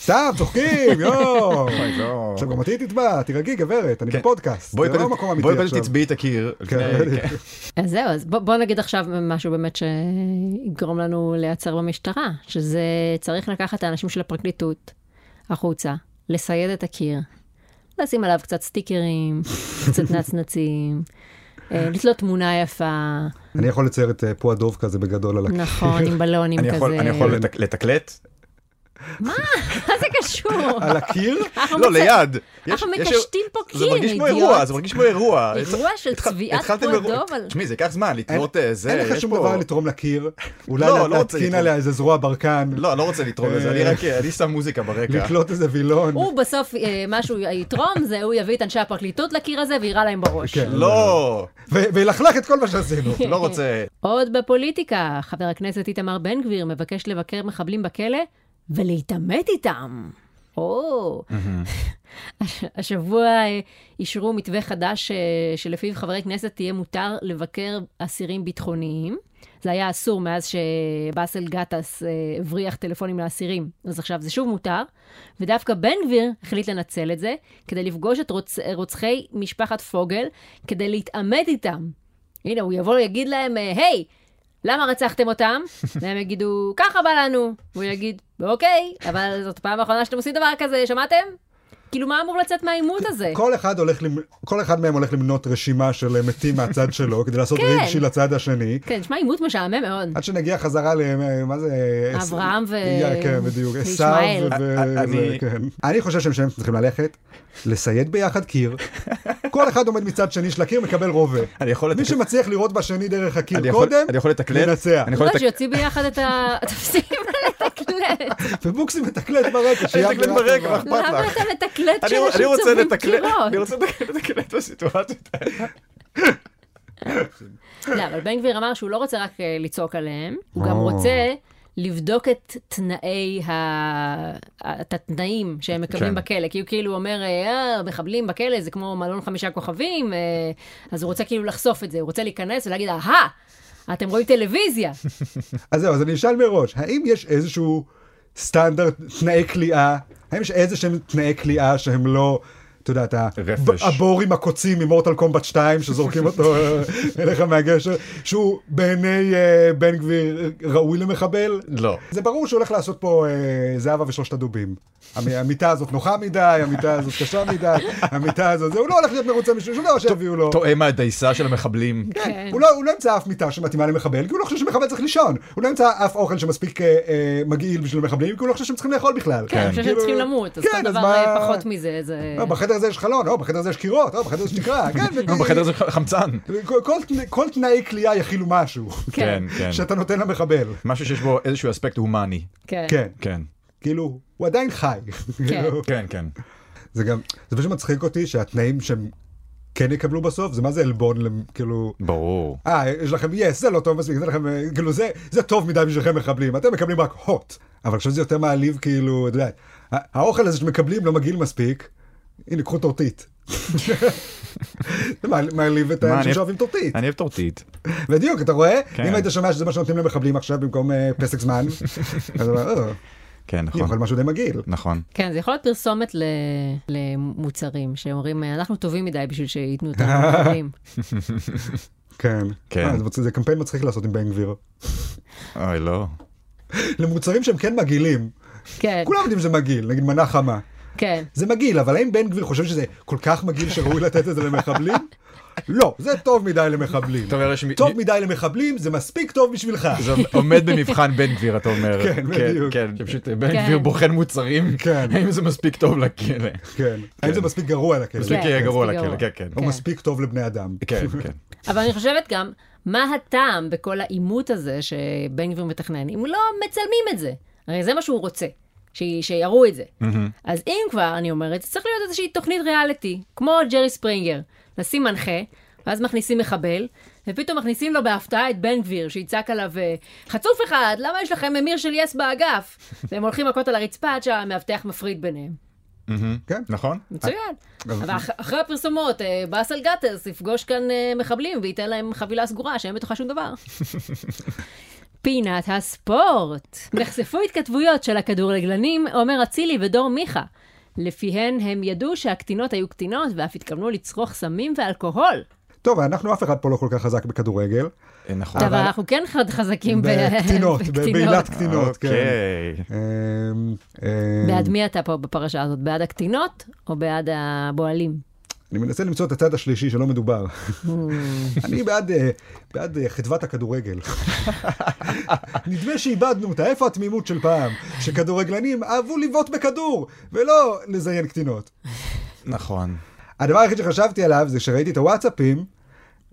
סתם, צוחקים, יואו. אוי, לא. עכשיו גם אותי תתבע, תירגעי גברת, אני כן. בפודקאסט. בואי זה לא קודם- מקום בואי אמיתי קודם עכשיו. תצביעי את הקיר. כן, לפני- כן. אז זהו, אז בוא, בוא נגיד עכשיו משהו באמת שיגרום לנו להיעצר במשטרה, שזה צריך לקחת את האנשים של הפרקליטות החוצה, לסייד את הקיר, לשים עליו קצת סטיקרים, קצת נצנצים, אה, לתלות תמונה יפה, אני יכול לצייר את אה, פועדוב כזה בגדול על הקיר. נכון, עם בלונים אני כזה. יכול- אני יכול לתק- לתקלט? מה זה קשור? על הקיר? אנחנו לא, מצ- ליד. יש- אנחנו יש- מקשטים פה זה קיר, מרגיש כמו אירוע, אידיוט. זה מרגיש כמו אירוע. אירוע של התח- צביעת התחלתם פועל אירוע- דוב על- תשמעי, זה ייקח זמן לתלות אה, זה. אין לך יש שום פה- דבר לתרום לקיר, אולי לא, לא רוצה להתקין לתרום. עליה איזה זרוע ברקן, לא, אני לא רוצה לתרום לזה, אני רק, אני שם מוזיקה ברקע. לתלות איזה וילון. הוא בסוף, אה, מה שהוא יתרום זה הוא יביא את אנשי הפרקליטות לקיר הזה ויירה להם בראש. כן. לא, ו- וילכלך את כל מה שעשינו. לא רוצה. עוד בפוליטיקה, חבר הכנסת איתמר בן גביר מבקש לבקר מחבלים בכלא ולהתעמת איתם. או, הש- השבוע אה, אישרו מתווה חדש אה, שלפיו חברי כנסת תהיה מותר לבקר אסירים ביטחוניים. זה היה אסור מאז שבאסל גטאס אה, הבריח טלפונים לאסירים, אז עכשיו זה שוב מותר. ודווקא בן גביר החליט לנצל את זה כדי לפגוש את רוצ... רוצחי משפחת פוגל, כדי להתעמת איתם. הנה, הוא יבוא ויגיד להם, אה, היי, למה רצחתם אותם? והם יגידו, ככה בא לנו. הוא יגיד, אוקיי, אבל זאת פעם האחרונה שאתם עושים דבר כזה, שמעתם? כאילו, מה אמור לצאת מהעימות הזה? כל אחד, הולך למ... כל אחד מהם הולך למנות רשימה של אה, מתים מהצד שלו, כדי לעשות כן. רגשי לצד השני, כן, נשמע עימות משעמם מאוד. עד שנגיע חזרה ל... אה, מה זה? אה, אברהם ו- יא, כן, בדיוק. עשו וישמעאל. ו... א- א- זה, אה, אני- כן. אני חושב שהם שניהם צריכים ללכת, לסייד ביחד קיר, כל אחד עומד מצד שני של הקיר, מקבל רובה. אני יכול מי לתקלט. שמצליח לראות בשני דרך אני הקיר יכול- קודם, אני יכול לתקלט? מנצח. אני יכול לא, לתק- שיוציא ביחד את ה... תפסיק לתקלט. ובוקסי מתקלט ברקע, שיהיה מתקלט אווירה ברקע, טובה. מה אכפת למה לך? אתה מתקלט אני כשאנשים אני רוצה צובעים לתקלט, קירות? אני רוצה לתקלט- לתקלט בסיטואציות האלה. לא, אבל בן גביר אמר שהוא לא רוצה רק אה, לצעוק עליהם, הוא גם או. רוצה לבדוק את תנאי ה... את התנאים שהם מקבלים כן. בכלא. כי הוא כאילו אומר, אה, מחבלים בכלא זה כמו מלון חמישה כוכבים, אה, אז הוא רוצה כאילו לחשוף את זה, הוא רוצה להיכנס ולהגיד, אהה, אתם רואים טלוויזיה. אז זהו, אז אני אשאל מראש, האם יש איזשהו סטנדרט, תנאי כליאה? האם יש איזה שהם תנאי כליאה שהם לא, אתה יודע, אתה... רפש. הבור עם הקוצים ממורטל קומבט 2, שזורקים אותו אה, אליך מהגשר, שהוא בעיני אה, בן גביר ראוי למחבל? לא. זה ברור שהוא הולך לעשות פה אה, זהבה ושלושת הדובים. המ- המיטה הזאת נוחה מדי, המיטה הזאת קשה מדי, המיטה הזאת, זה, הוא לא הולך להיות מרוצה משום שום דבר שיביאו לו. טועה מהדייסה של המחבלים. כן. הוא לא, הוא לא ימצא אף מיטה שמתאימה למחבל, כי הוא לא חושב שמחבל צריך לישון. הוא לא ימצא אף אוכל שמספיק אה, אה, מגעיל בשביל מחבלים, כי הוא לא חושב שהם צריכים לאכול בכלל. כן, אני חושב שהם כאילו- צריכים למות, אז כן, כל דבר מה- אה, פחות מזה, זה... לא, בחדר הזה יש חלון, או, בחדר הזה יש קירות, או, בחדר הזה יש תקרה, כן. לא, וכי- בחדר זה חמצן. כל- כל תנא- כל תנאי כליאה יכילו משהו, כן, כן. שאתה נותן למחבל. משהו שיש בו איזשהו אספקט הומני. כן. כן, כן. כאילו, הוא עדיין חי. כאילו, כן, כן. זה גם, זה פשוט מצחיק אותי שהתנאים שהם כן יקבלו בסוף, זה מה זה עלבון, למ- כאילו... ברור. אה, יש לכם יס, זה לא טוב מספיק, זה לכם, אה, כאילו זה, זה טוב מדי בשבילכם מחבלים, אתם מקבלים רק הוט. אבל עכשיו זה יותר מעליב, כאילו, אתה יודע, ה- האוכל הזה שמקבלים לא מגעיל מספיק, הנה, קחו טורטית. זה מעל- מעליב את מה, האנשים אני- שאוהבים טורטית. אני אוהב טורטית. בדיוק, אתה רואה? כן. אם היית שומע שזה מה שנותנים למחבלים עכשיו במקום אה, פסק זמן, אז אתה אומר, "אה, כן, אני אוכל נכון. משהו די מגעיל. נכון. כן, זה יכול להיות פרסומת ל... למוצרים, שאומרים, אנחנו טובים מדי בשביל שייתנו אותנו למחבלים. כן. כן. אה, זה מצ- זה קמפיין מצחיק לעשות עם בן גביר. אוי, לא. למוצרים שהם כן מגעילים. כן, כולם יודעים שזה מגעיל, נגיד מנה חמה. כן. זה מגעיל, אבל האם בן גביר חושב שזה כל כך מגעיל שראוי לתת את זה למחבלים? לא, זה טוב מדי למחבלים. אתה אומר, יש מי- טוב מדי למחבלים, זה מספיק טוב בשבילך. זה עומד במבחן בן גביר, אתה אומר. כן, בדיוק. כן, שפשוט בן כן. גביר בוחן מוצרים, כן. האם זה מספיק טוב לכלא. כן. האם זה מספיק גרוע לכלא? מספיק כן, גרוע מספיק לכלא, גרוע. כן, כן. או מספיק טוב לבני אדם. כן, כן. אבל אני חושבת גם, מה הטעם בכל העימות הזה שבן גביר מתכנן, אם לא מצלמים את זה? הרי זה מה שהוא רוצה, ש... שיראו את זה. אז אם כבר, אני אומרת, צריך להיות איזושהי תוכנית ריאליטי, כמו ג'רי ספרינגר. נשים מנחה, ואז מכניסים מחבל, ופתאום מכניסים לו בהפתעה את בן גביר, שיצעק עליו, אה, חצוף אחד, למה יש לכם ממיר של יס באגף? והם הולכים מכות על הרצפה עד שהמאבטח מפריד ביניהם. כן. נכון? מצוין. אבל אח- אחרי הפרסומות, אה, באסל גטס יפגוש כאן אה, מחבלים וייתן להם חבילה סגורה שאין בתוכה שום דבר. פינת הספורט. נחשפו התכתבויות של הכדורגלנים עומר אצילי ודור מיכה. לפיהן הם ידעו שהקטינות היו קטינות ואף התכוונו לצרוך סמים ואלכוהול. טוב, אנחנו אף אחד פה לא כל כך חזק בכדורגל. אה, נכון. אבל אנחנו כן חד- חזקים ב- בקטינות, בקטינות. בבעילת קטינות, כן. אוקיי. אמ, אמ, בעד מי אתה פה בפרשה הזאת? בעד הקטינות או בעד הבועלים? אני מנסה למצוא את הצד השלישי שלא מדובר. אני בעד, אה, בעד אה, חדוות הכדורגל. נדמה שאיבדנו אותה, איפה התמימות של פעם? שכדורגלנים אהבו לבעוט בכדור, ולא לזיין קטינות. נכון. הדבר היחיד שחשבתי עליו זה שראיתי את הוואטסאפים,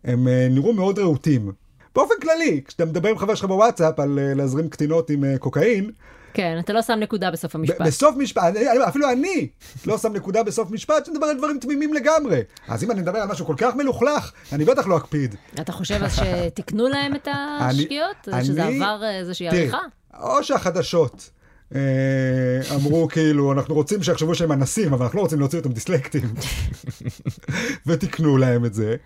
הם אה, נראו מאוד רהוטים. באופן כללי, כשאתה מדבר עם חבר שלך בוואטסאפ על אה, להזרים קטינות עם אה, קוקאין, כן, אתה לא שם נקודה בסוף המשפט. ב- בסוף משפט, אני- אני- אפילו אני לא שם נקודה בסוף משפט, שמדבר על דברים תמימים לגמרי. אז אם אני מדבר על משהו כל כך מלוכלך, אני בטח לא אקפיד. אתה חושב אז שתיקנו להם את השגיאות? אני- שזה אני- עבר אה, איזושהי תראי, עריכה? או שהחדשות אה, אמרו כאילו, אנחנו רוצים שיחשבו שהם אנסים, אבל אנחנו לא רוצים להוציא אותם דיסלקטים. ותיקנו להם את זה.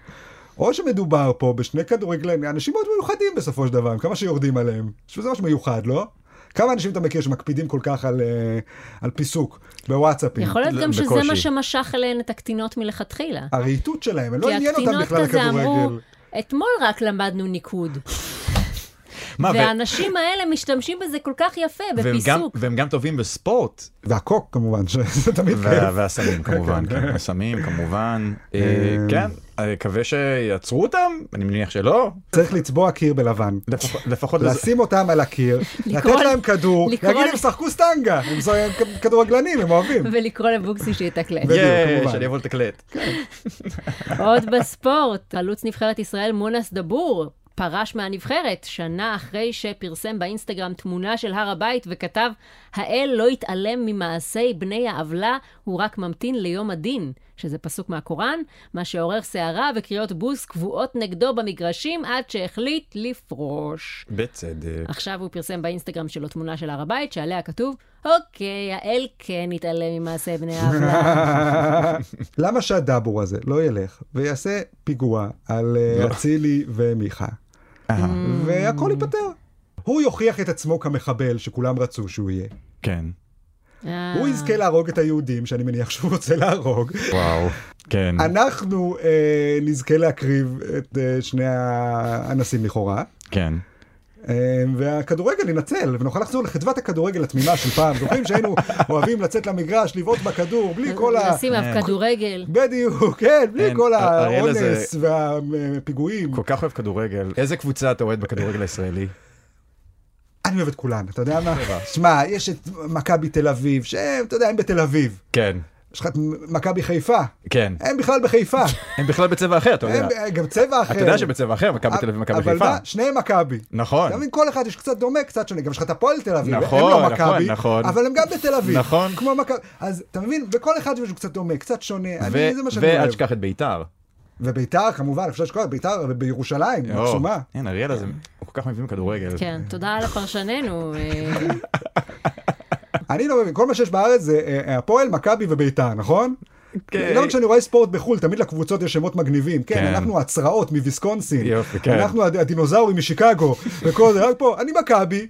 או שמדובר פה בשני כדורגלנים, אנשים מאוד מיוחדים בסופו של דבר, עם כמה שיורדים עליהם. שזה משהו מיוחד, לא? כמה אנשים אתה מכיר שמקפידים כל כך על, אה, על פיסוק בוואטסאפים? יכול להיות לא, גם שזה בקושי. מה שמשך אליהן את הקטינות מלכתחילה. הרהיטות שלהם, הם לא כי עניין אותם הקטינות בכלל כזה אמרו, הכדורגל. אתמול רק למדנו ניקוד, מה, ו- והאנשים האלה משתמשים בזה כל כך יפה, והם גם- בפיסוק. והם גם טובים בספורט, כן, והקוק כמובן, שזה תמיד וה- כיף. והסמים כמובן, כן, הסמים כמובן, אה, כן, אני מקווה שיעצרו אותם, אני מניח שלא, צריך לצבוע קיר בלבן. לפח- לפחות לזה- לשים אותם על הקיר, לתת להם כדור, לקרוא- להגיד הם שחקו סטנגה, הם זו- הם כ- כדורגלנים, הם אוהבים. ולקרוא לבוקסי שיתקלט. בדיוק, יש, כמובן. אני אבוא לתקלט. עוד בספורט, חלוץ נבחרת ישראל מונס דבור פרש מהנבחרת שנה אחרי שפרסם באינסטגרם תמונה של הר הבית וכתב, האל לא יתעלם ממעשי בני העוולה, הוא רק ממתין ליום הדין, שזה פסוק מהקוראן, מה שעורר סערה וקריאות בוז קבועות נגדו במגרשים עד שהחליט לפרוש. בצדק. עכשיו הוא פרסם באינסטגרם שלו תמונה של הר הבית שעליה כתוב, אוקיי, האל כן יתעלם ממעשי בני העוולה. למה שהדאבור הזה לא ילך ויעשה פיגוע על אה, אצילי ומיכה, אהה, והכל ייפתר? הוא יוכיח את עצמו כמחבל שכולם רצו שהוא יהיה. כן. אה. הוא יזכה להרוג את היהודים, שאני מניח שהוא רוצה להרוג. וואו. כן. אנחנו אה, נזכה להקריב את אה, שני האנסים לכאורה. כן. אה, והכדורגל ינצל, ונוכל לחזור לחדוות הכדורגל התמימה של פעם. זוכרים שהיינו אוהבים לצאת למגרש, לבעוט בכדור, בלי כל ה... אה, כן. נשים אף כדורגל. בדיוק, כן, בלי אין, אה, כל אריאל הזה- האונס והפיגועים. כל כך אוהב כדורגל. איזה קבוצה אתה אוהד בכדורגל הישראלי? אני אוהב את כולן, אתה יודע מה? שמע, יש את מכבי תל אביב, שהם, אתה יודע, הם בתל אביב. כן. יש לך את מכבי חיפה, כן. הם בכלל בחיפה. הם בכלל בצבע אחר, אתה יודע. הם אה, גם צבע אחר. אתה יודע שבצבע אחר, מכבי תל אביב ומכבי אבל חיפה. מה, שניהם מכבי. נכון. אתה מבין, כל אחד יש קצת דומה, קצת שונה. גם יש לך את הפועל תל אביב, נכון, הם לא נכון, מכבי, נכון. אבל הם גם בתל אביב. נכון. כמו מכבי. אז אתה מבין, בכל אחד יש משהו קצת דומה, קצת שונה. אני, זה מה ו- שאני ואל אוהב. תשכח את ביתר. וביתר, כמובן, אפשר לשכוח, ביתר בירושלים, או, מקסומה. כן, אריאל הזה, הוא כל כך מבין כדורגל. כן, תודה לפרשננו. אה, אני לא מבין, כל מה שיש בארץ זה אה, הפועל, מכבי אה, וביתר, נכון? אוקיי. גם כשאני רואה ספורט בחו"ל, תמיד לקבוצות יש שמות מגניבים. כן, כן. אנחנו הצרעות מוויסקונסין. יופי, כן. אנחנו הד- הדינוזאורים משיקגו. וכל זה, רק פה, אני מכבי.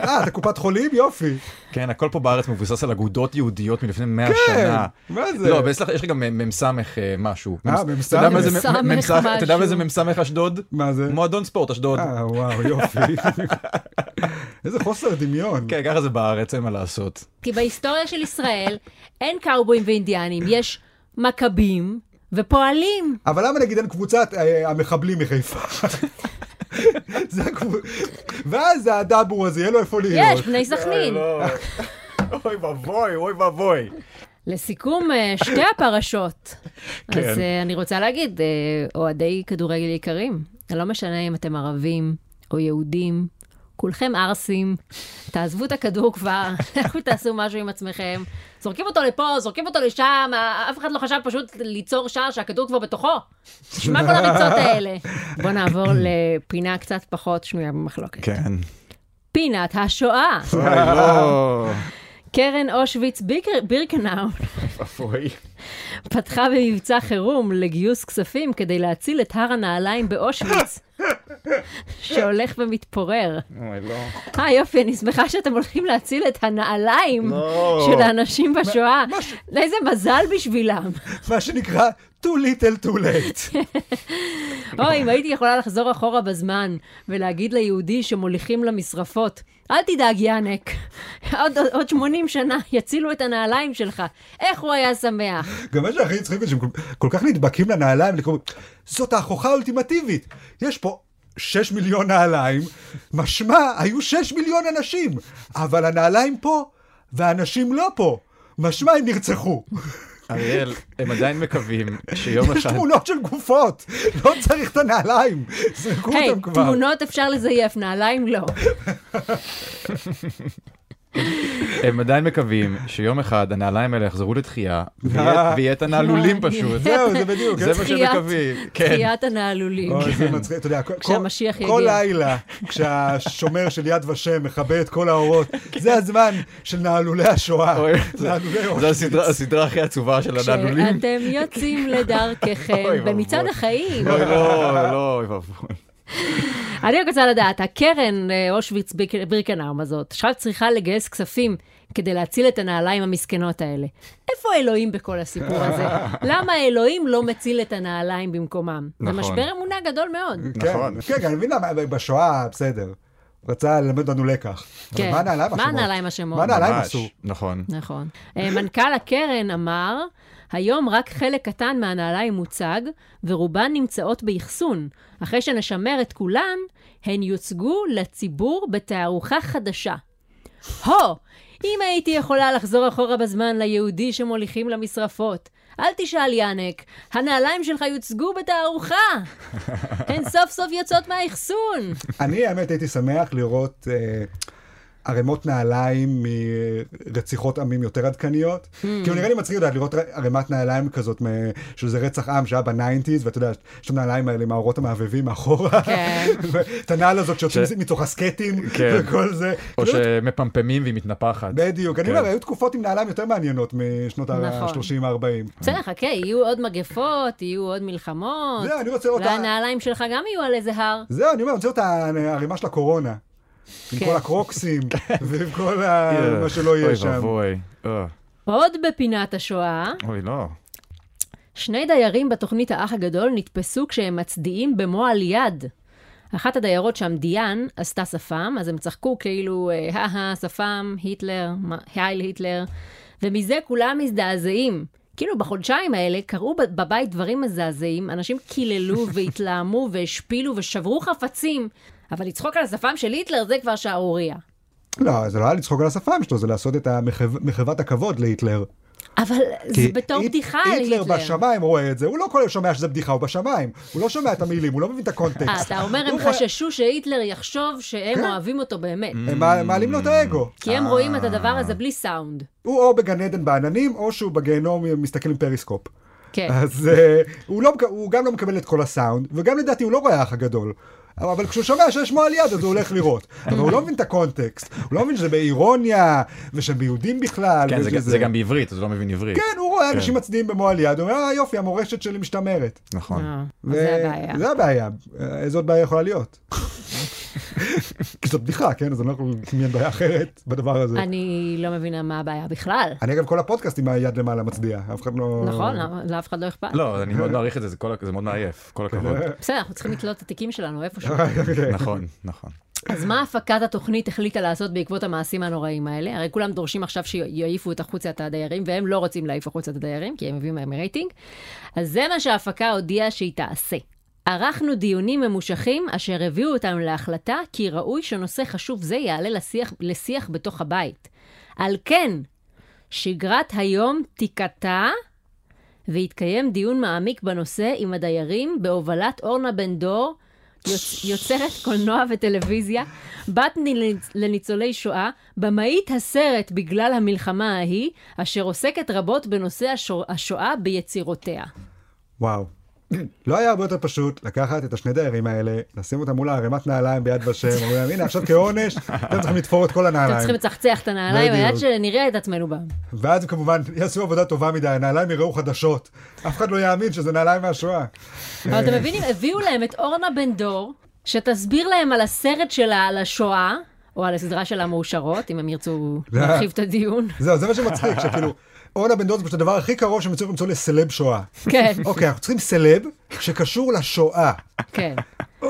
אה, אתה קופת חולים? יופי. כן, הכל פה בארץ מבוסס על אגודות יהודיות מלפני 100 כן, שנה. מה זה? לא, אבל יש לך- יש לך גם מ- מ"ס אה, משהו. אה, מ"ס- מ"ס? אתה יודע מה זה מ- מ"ס מ- מ"ס- אתה יודע מה זה משהו. מ"ס אשדוד? מה זה? מועדון ספורט אשדוד. אה, וואו, יופי. איזה חוסר דמיון. כן, ככה זה בארץ, אין מה לעשות. כי בהיסטוריה של ישראל אין קאובויים ואינדיאנים, יש מכבים ופועלים. אבל למה נגיד אין קבוצת אה, המחבלים מחיפה? זה הקבוצ- ואז הדאבור הזה, יהיה לו איפה להיות. יש, בני סכנין. לא. אוי ואבוי, אוי ואבוי. לסיכום אה, שתי הפרשות, אז אה, אני רוצה להגיד, אה, אוהדי כדורגל יקרים, לא משנה אם אתם ערבים או יהודים, כולכם ערסים, תעזבו את הכדור כבר, לכו תעשו משהו עם עצמכם. זורקים אותו לפה, זורקים אותו לשם, אה, אף אחד לא חשב פשוט ליצור שער שהכדור כבר בתוכו. תשמע כל הריצות האלה. בואו נעבור לפינה קצת פחות שנויה במחלוקת. כן. פינת השואה. אוי, לא. קרן אושוויץ ביקר- בירקנאו אוי. פתחה במבצע חירום לגיוס כספים כדי להציל את הר הנעליים באושוויץ, שהולך ומתפורר. אוי, לא. אה, יופי, אני שמחה שאתם הולכים להציל את הנעליים לא. של האנשים בשואה. איזה מזל בשבילם. מה שנקרא, too little too late. אוי, לא, אם הייתי יכולה לחזור אחורה בזמן ולהגיד ליהודי שמוליכים למשרפות, אל תדאג, יאנק, עוד, עוד 80 שנה יצילו את הנעליים שלך. איך הוא היה שמח. גם מה שהכי הצחיק אותי, שהם כל- כל כך נדבקים לנעליים, לקרוא, זאת ההוכחה האולטימטיבית. יש פה 6 מיליון נעליים, משמע, היו 6 מיליון אנשים, אבל הנעליים פה, והאנשים לא פה. משמע, הם נרצחו. אריאל, הם עדיין מקווים שיום יש אחד... תמונות של גופות, לא צריך את הנעליים, זרקו היי, אותם כבר. תמונות אפשר לזייף, נעליים לא. הם עדיין מקווים שיום אחד הנעליים האלה יחזרו לתחייה, ויהיה- ויהיה את הנעלולים פשוט. זהו, זה בדיוק. אה. זה מה כן. תחיית- שהם מקווים. כן. תחיית הנעלולים. אוי, זה מצחיק, אתה יודע, כל- כשהמשיח כל- יגיע. כל לילה, כשהשומר של יד ושם מכבה את כל האורות, זה הזמן של נעלולי השואה. אוי, זה- נעלולי זו אושוויץ. הסדרה- הסדרה הכי עצובה של הנעלולים. כשאתם יוצאים לדרככם אוי ואבוי. במצעד החיים. אוי, לא, לא, אוי ואבוי. אני רק רוצה לדעת, הקרן אה, אושוויץ ביק- בירקנאום הזאת, עכשיו צריכה לגייס כספים כדי להציל את הנעליים המסכנות האלה. איפה אלוהים בכל הסיפור הזה? למה אלוהים לא מציל את הנעליים במקומם? זה נכון. משבר אמונה גדול מאוד. נכון. כן, כן, אני מבין למה, בשואה, בסדר. רצה ללמד לנו לקח. אבל כן. מה הנעליים מה אשמות? הנעליים אשמות? מה הנעליים ממש, עשו? נכון. נכון. אה, מנכ"ל הקרן אמר, היום רק חלק קטן מהנעליים מוצג, ורובן נמצאות באחסון. אחרי שנשמר את כולן, הן יוצגו לציבור בתערוכה חדשה. הו! אם הייתי יכולה לחזור אחורה בזמן ליהודי שמוליכים למשרפות, אל תשאל יאנק, הנעליים שלך יוצגו בתערוכה! הן סוף סוף יוצאות מהאחסון! אני, האמת, הייתי שמח לראות אה, ערימות נעליים מרציחות עמים יותר עדכניות. Hmm. כאילו, נראה לי מצחיק לדעת לראות ר- ערימת נעליים כזאת, מ- שזה רצח עם שהיה בניינטיז, ואתה יודע, יש את הנעליים האלה עם האורות המעבבים מאחורה. כן. ואת הנעל הזאת שיוצאים ש- מתוך הסקטים, כן. וכל זה. או כאילו, שמפמפמים והיא מתנפחת. בדיוק, אני כן. אומר, היו תקופות עם נעליים יותר מעניינות משנות נכון. ה-30 ה-40. בסדר, חכה, יהיו עוד מגפות, יהיו עוד מלחמות. זהו, אני רוצה לראות... אולי ה- הנעליים שלך גם יהיו על איזה הר. זהו, אני אומר, אני רוצה את הערימה של הקורונה. עם כן. כל הקרוקסים, ועם כל ה- אה, מה שלא אוי יהיה שם. ואבוי. אה, עוד בפינת השואה, אוי, לא. שני דיירים בתוכנית האח הגדול נתפסו כשהם מצדיעים במועל יד. אחת הדיירות שם, דיאן, עשתה שפם, אז הם צחקו כאילו, אה, הא הא, שפם, היטלר, מה- הייל היטלר, ומזה כולם מזדעזעים. כאילו בחודשיים האלה קרו ב- בבית דברים מזעזעים, אנשים קיללו והתלהמו והשפילו ושברו חפצים, אבל לצחוק על השפם של היטלר זה כבר שערורייה. לא, זה לא היה לצחוק על השפם שלו, זה לעשות את המחו- מחוות הכבוד להיטלר. אבל זה כי בתור היט- בדיחה על היטלר בשמיים רואה את זה, הוא לא כל היום שומע שזה בדיחה, הוא בשמיים. הוא לא שומע את המילים, הוא לא מבין את אה, הקונטקסט. אתה אומר, הם הוא רואה- חששו שהיטלר יחשוב שהם כן. אוהבים אותו באמת. הם מע- מעלים לו את האגו. כי הם רואים אה. את הדבר הזה בלי סאונד. הוא או בגן עדן בעננים, או שהוא בגיהנום מסתכל עם פריסקופ. כן. אז אה, הוא, לא, מק- הוא גם לא מקבל את כל הסאונד, וגם לדעתי הוא לא ריח הגדול. אבל אבל כשהוא שומע שיש מועל יד, אז הוא הולך לראות. אבל הוא לא מבין את הקונטקסט, הוא לא מבין שזה באירוניה, ושביהודים בכלל. כן, זה ושזה- גם- זה גם בעברית, אז הוא לא מבין עברית. כן, הוא רואה אנשים מצדיעים במועל יד, הוא אומר, אה, יופי, המורשת שלי משתמרת. נכון. אה, ו- זה הבעיה. זה הבעיה. אה, איזו עוד בעיה יכולה להיות? כי זו בדיחה, כן? אז אני לא יכול לדמיין בעיה אחרת בדבר הזה. אני לא מבינה מה הבעיה בכלל. אני אגב כל הפודקאסט עם היד למעלה מצדיע, אף אחד לא... נכון, למה- לאף אחד לא אכפת. לא, אני מאוד מעריך את זה, זה כל ה- זה מאוד מעייף, כל הכבוד. בסדר, אנחנו צריכים לתלות את התיקים שלנו כן. איפשהו. נכון, נכון. אז מה הפקת התוכנית החליטה לעשות בעקבות המעשים הנוראים האלה? הרי כולם דורשים עכשיו שיעיפו את החוצה את הדיירים, והם לא רוצים להעיף החוצה את הדיירים, כי הם מביאים להם רייטינג. אז זה מה שההפקה הודיעה שהיא תעשה. ערכנו דיונים ממושכים אשר הביאו אותנו להחלטה כי ראוי שנושא חשוב זה יעלה לשיח, לשיח בתוך הבית. על כן, שגרת היום תיקטע והתקיים דיון מעמיק בנושא עם הדיירים בהובלת אורנה בן דור, יוצ- יוצרת קולנוע וטלוויזיה, בת לניצ- לניצולי שואה, במאית הסרט בגלל המלחמה ההיא, אשר עוסקת רבות בנושא השו- השואה ביצירותיה. וואו. לא היה הרבה יותר פשוט לקחת את השני דיירים האלה, לשים אותם מול הערימת נעליים ביד ושם, אומרים להם, הנה עכשיו כעונש, אתם צריכים לתפור את כל אתם צריכים הנעליים. לצחצח את הנעליים, אה, בדיוק. עד שנראה את עצמנו בם. ואז כמובן יעשו עבודה טובה מדי, הנעליים יראו חדשות. אף אחד לא יאמין שזה נעליים מהשואה. אבל אתם מבינים, הביאו להם את אורנה בן דור, שתסביר להם על הסרט שלה על השואה, או על הסדרה שלה מאושרות, אם הם ירצו לא. להרחיב את הדיון. זהו, זה מה שמצחיק, שכאילו, אורנה בן דוד זה פשוט הדבר הכי קרוב שהם הצליחו למצוא לסלב שואה. כן, אוקיי, אנחנו צריכים סלב שקשור לשואה. כן. או,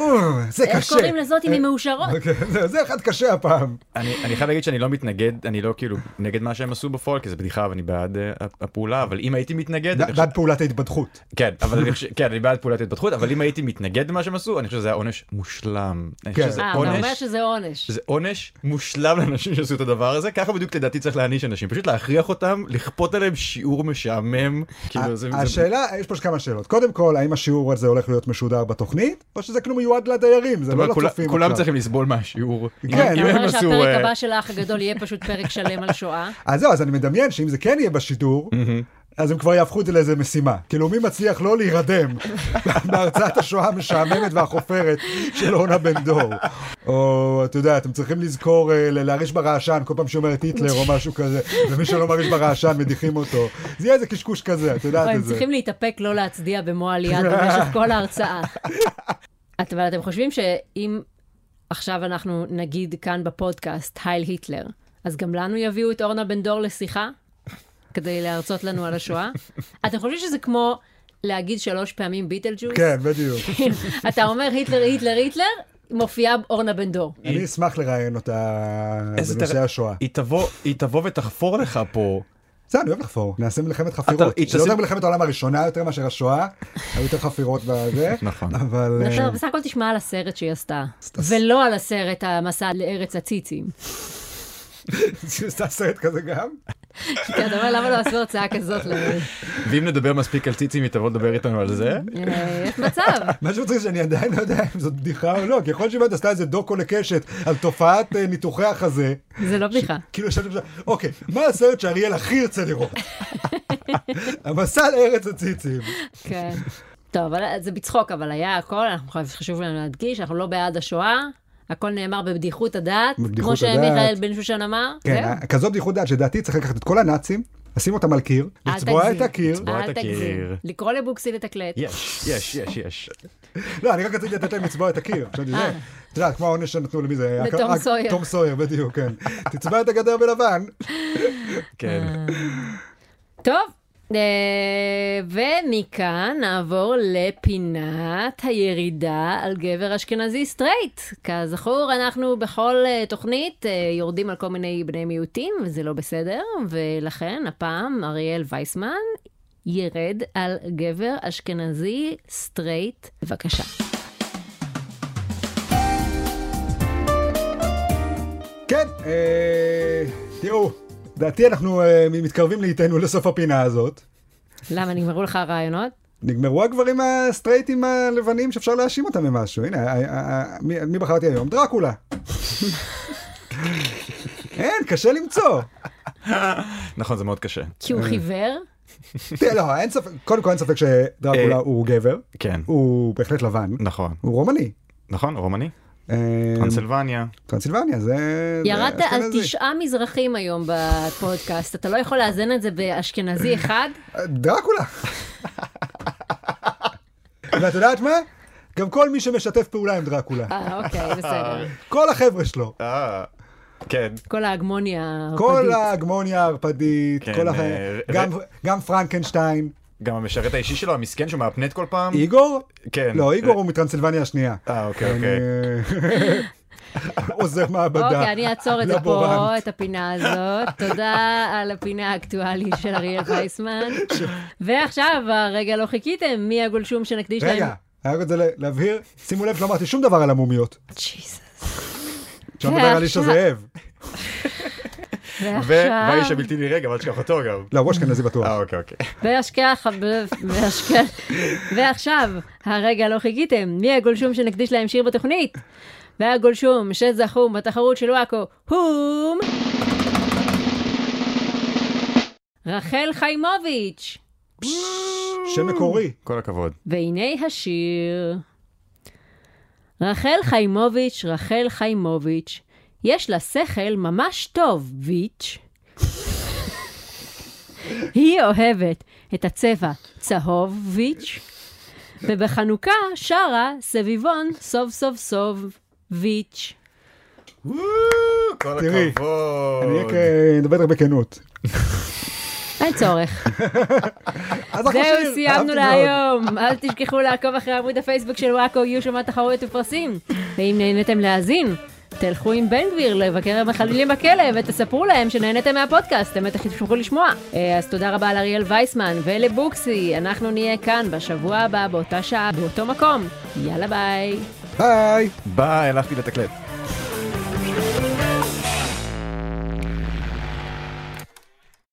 זה קשה. איך קוראים לזאת אם היא מאושרות? אוקיי, זה- זה אחד קשה הפעם. אני אני חייב להגיד שאני לא מתנגד, אני לא כאילו נגד מה שהם עשו בפועל, כי זה בדיחה ואני בעד אה, הפעולה, אבל אם הייתי מתנגד... אני ד- חושב- בעד פעולת ההתבדחות. כן, אבל אני חושב, כן, אני בעד פעולת התפתחות, אבל אם הייתי מתנגד למה שהם עשו, אני חושב שזה היה עונש מושלם. אני חושב כן. שזה אה, אתה אומר עונש, שזה עונש. שזה עונש מושלם לאנשים שעשו את הדבר הזה, ככה בדיוק לדעתי צריך להעניש אנשים, פשוט להכריח אותם, לכפות עליהם שיעור משעמם, אה, כאילו זה... זה- השאלה, יש פה כמה שאלות. קודם כל, האם השיעור הזה הולך להיות משודר בתוכנית, או שזה כאילו מיועד לדיירים, זה זאת אומרת, לא כולם- לצופים כולם עכשיו. צריכים לסבול מהשיעור. אם- כן, אם אתה הם אומר עשו... שהפרק אה, הבא של האח הגדול יהיה פשוט פרק שלם על שואה. אז זהו, אז אני מדמיין שאם זה כן יהיה בשידור, אז הם כבר יהפכו את זה לאיזה משימה. כאילו, מי מצליח לא להירדם בהרצאת השואה המשעממת והחופרת של אורנה בן דור. או, אתה יודע, אתם צריכים לזכור אה, ל- להרעיש ברעשן כל פעם שאומרת היטלר או משהו כזה, ומי שלא מרעיש ברעשן מדיחים אותו. זה יהיה איזה קשקוש כזה, את יודעת הם את זה. צריכים להתאפק לא להצדיע במו יד במשך כל ההרצאה. את- אבל אתם חושבים שאם עכשיו אנחנו נגיד כאן בפודקאסט, הייל היטלר, אז גם לנו יביאו את אורנה בן דור לשיחה? כדי להרצות לנו על השואה? אתם חושבים שזה כמו להגיד שלוש פעמים ביטלג'וס? כן, בדיוק. כן. אתה אומר היטלר, היטלר, היטלר, מופיעה אורנה בן דור. אני אשמח לראיין אותה איזה בנושא תר- השואה. היא תבוא- היא תבוא ותחפור לך פה. בסדר, אני אוהב לחפור. נעשה מלחמת חפירות. אתה- זה לא יותר מלחמת העולם הראשונה יותר מאשר השואה, היו יותר חפירות בזה. נכון. אבל... אה, בסדר, בסך הכל תשמע על הסרט שהיא עשתה, ולא על הסרט המסע לארץ הציצים. עשתה סרט כזה גם? כי אתה אומר, למה לא עשו הרצאה כזאת? ל- ואם נדבר מספיק על ציצים, היא תבוא לדבר איתנו על זה. אה, יש מצב. מה שמצחיק זה שאני עדיין לא יודע אם זאת בדיחה או לא, כי יכול להיות שהיא באמת עשתה איזה דוקו לקשת על תופעת אה, ניתוחי החזה. זה לא בדיחה. כאילו ישבתי שם, אוקיי, מה הסרט שאריאל הכי ירצה לראות? המסע לארץ הציצים. כן. טוב, אבל זה בצחוק, אבל היה הכל, אנחנו חייב- חשוב לנו להדגיש, אנחנו לא בעד השואה, הכל נאמר בבדיחות הדעת, כמו בבדיחות שמיכאל הדעת. בן שושן אמר. כן, זהו. אה, כזו בדיחות דעת שלדעתי צריך לקחת את כל הנאצים, לשים אותם על קיר, אל לצבוע את תגזים. הקיר. לצבוע את אל הקיר. תגזים. לקרוא לבוקסי לתקלט. יש, יש, יש, יש. לא, אני רק רציתי לתת להם לצבוע את הקיר. חשבתי, זה, אה. את יודעת, כמו העונש שנתנו למי זה? לתום רק- סויר. תום סויר, בדיוק, כן. תצבע את הגדר בלבן. כן. טוב, אה, ומכאן נעבור לפינת הירידה על גבר אשכנזי סטרייט. כזכור, אנחנו בכל אה, תוכנית אה, יורדים על כל מיני בני מיעוטים, וזה לא בסדר, ולכן הפעם אריאל וייסמן ירד על גבר אשכנזי סטרייט. בבקשה. כן, אה, תראו, לדעתי אנחנו אה, מתקרבים לאיתנו לסוף הפינה הזאת. למה, נגמרו לך הרעיונות? נגמרו הגברים הסטרייטים הלבנים שאפשר להאשים אותם במשהו. הנה, ה- ה- ה- מי מי בחרתי היום? דרקולה. אין, קשה למצוא. נכון, זה מאוד קשה. אה, כי הוא חיוור? תראה, לא, אין ספק, קודם כל אין ספק שדרקולה אה, הוא גבר, כן, הוא בהחלט לבן, נכון. הוא רומני. נכון, רומני, אה, טרנסילבניה. טרנסילבניה, זה... זה ירדת על אשכנזי. תשעה מזרחים היום בפודקאסט, אתה לא יכול לאזן את זה באשכנזי אחד? דרקולה. ואת יודעת מה? גם כל מי שמשתף פעולה עם דרקולה. אה, אוקיי, בסדר. כל החבר'ה שלו. אה, כן, כל ההגמוניה כל הערפדית. ההגמוניה הערפדית, כן, כל הח- אה, גם- גם פרנקנשטיין. גם המשרת האישי שלו, המסכן שהוא מהפנט כל פעם. איגור? כן. לא, איגור הוא מטרנסילבניה השנייה. אה, אוקיי, אוקיי. אה, עוזר מעבדה. אוקיי, אני אעצור את לא זה פה, לבורנט. את הפינה הזאת. תודה על הפינה האקטואלית של אריאל וייסמן. ועכשיו, הרגע לא חיכיתם, מי הגולשום שנקדיש להם? רגע, היה רק את זה ל- להבהיר, שימו לב שלא אמרתי שום דבר על המומיות. ג'יזוס. אפשר לדבר אה, על איש ועכשיו- הזאב. והאיש ועכשיו, הבלתי נראה, גם אל תשכח אותו גם. לא, הוא אשכנזי בטוח. אה, אוקיי, אוקיי. והשכח, והשכח, ועכשיו, הרגע לא חיכיתם, מי הגולשום שנקדיש להם שיר בתוכנית? והגולשום שזכו בתחרות של וואקו, הום! רחל חיימוביץ'. שם מקורי. כל הכבוד. והנה השיר. רחל חיימוביץ', רחל חיימוביץ', יש לה שכל ממש טוב, ויץ'. היא אוהבת את הצבע צהוב, ויץ', ובחנוכה שרה סביבון סוב סוב סוב, ויץ'. וואו, כל תראי, הכבוד. אני רק- אה, נדבר איתך בכנות. אין צורך. אז אחלה שיר, זהו, סיימנו אהבתי מאוד. להיום. אל תשכחו לעקוב אחרי עמוד הפייסבוק של וואקו, יהיו שם תחרויות ופרסים. ואם נהניתם להאזין, תלכו עם בן גביר לבקר המחללים בכלא ותספרו להם שנהניתם מהפודקאסט, הם בטח ישמחו לשמוע. אה, אז תודה רבה לאריאל וייסמן ולבוקסי, אנחנו נהיה כאן בשבוע הבא, באותה שעה, באותו מקום. יאללה ביי. ביי. ביי, הלכתי לתקלט.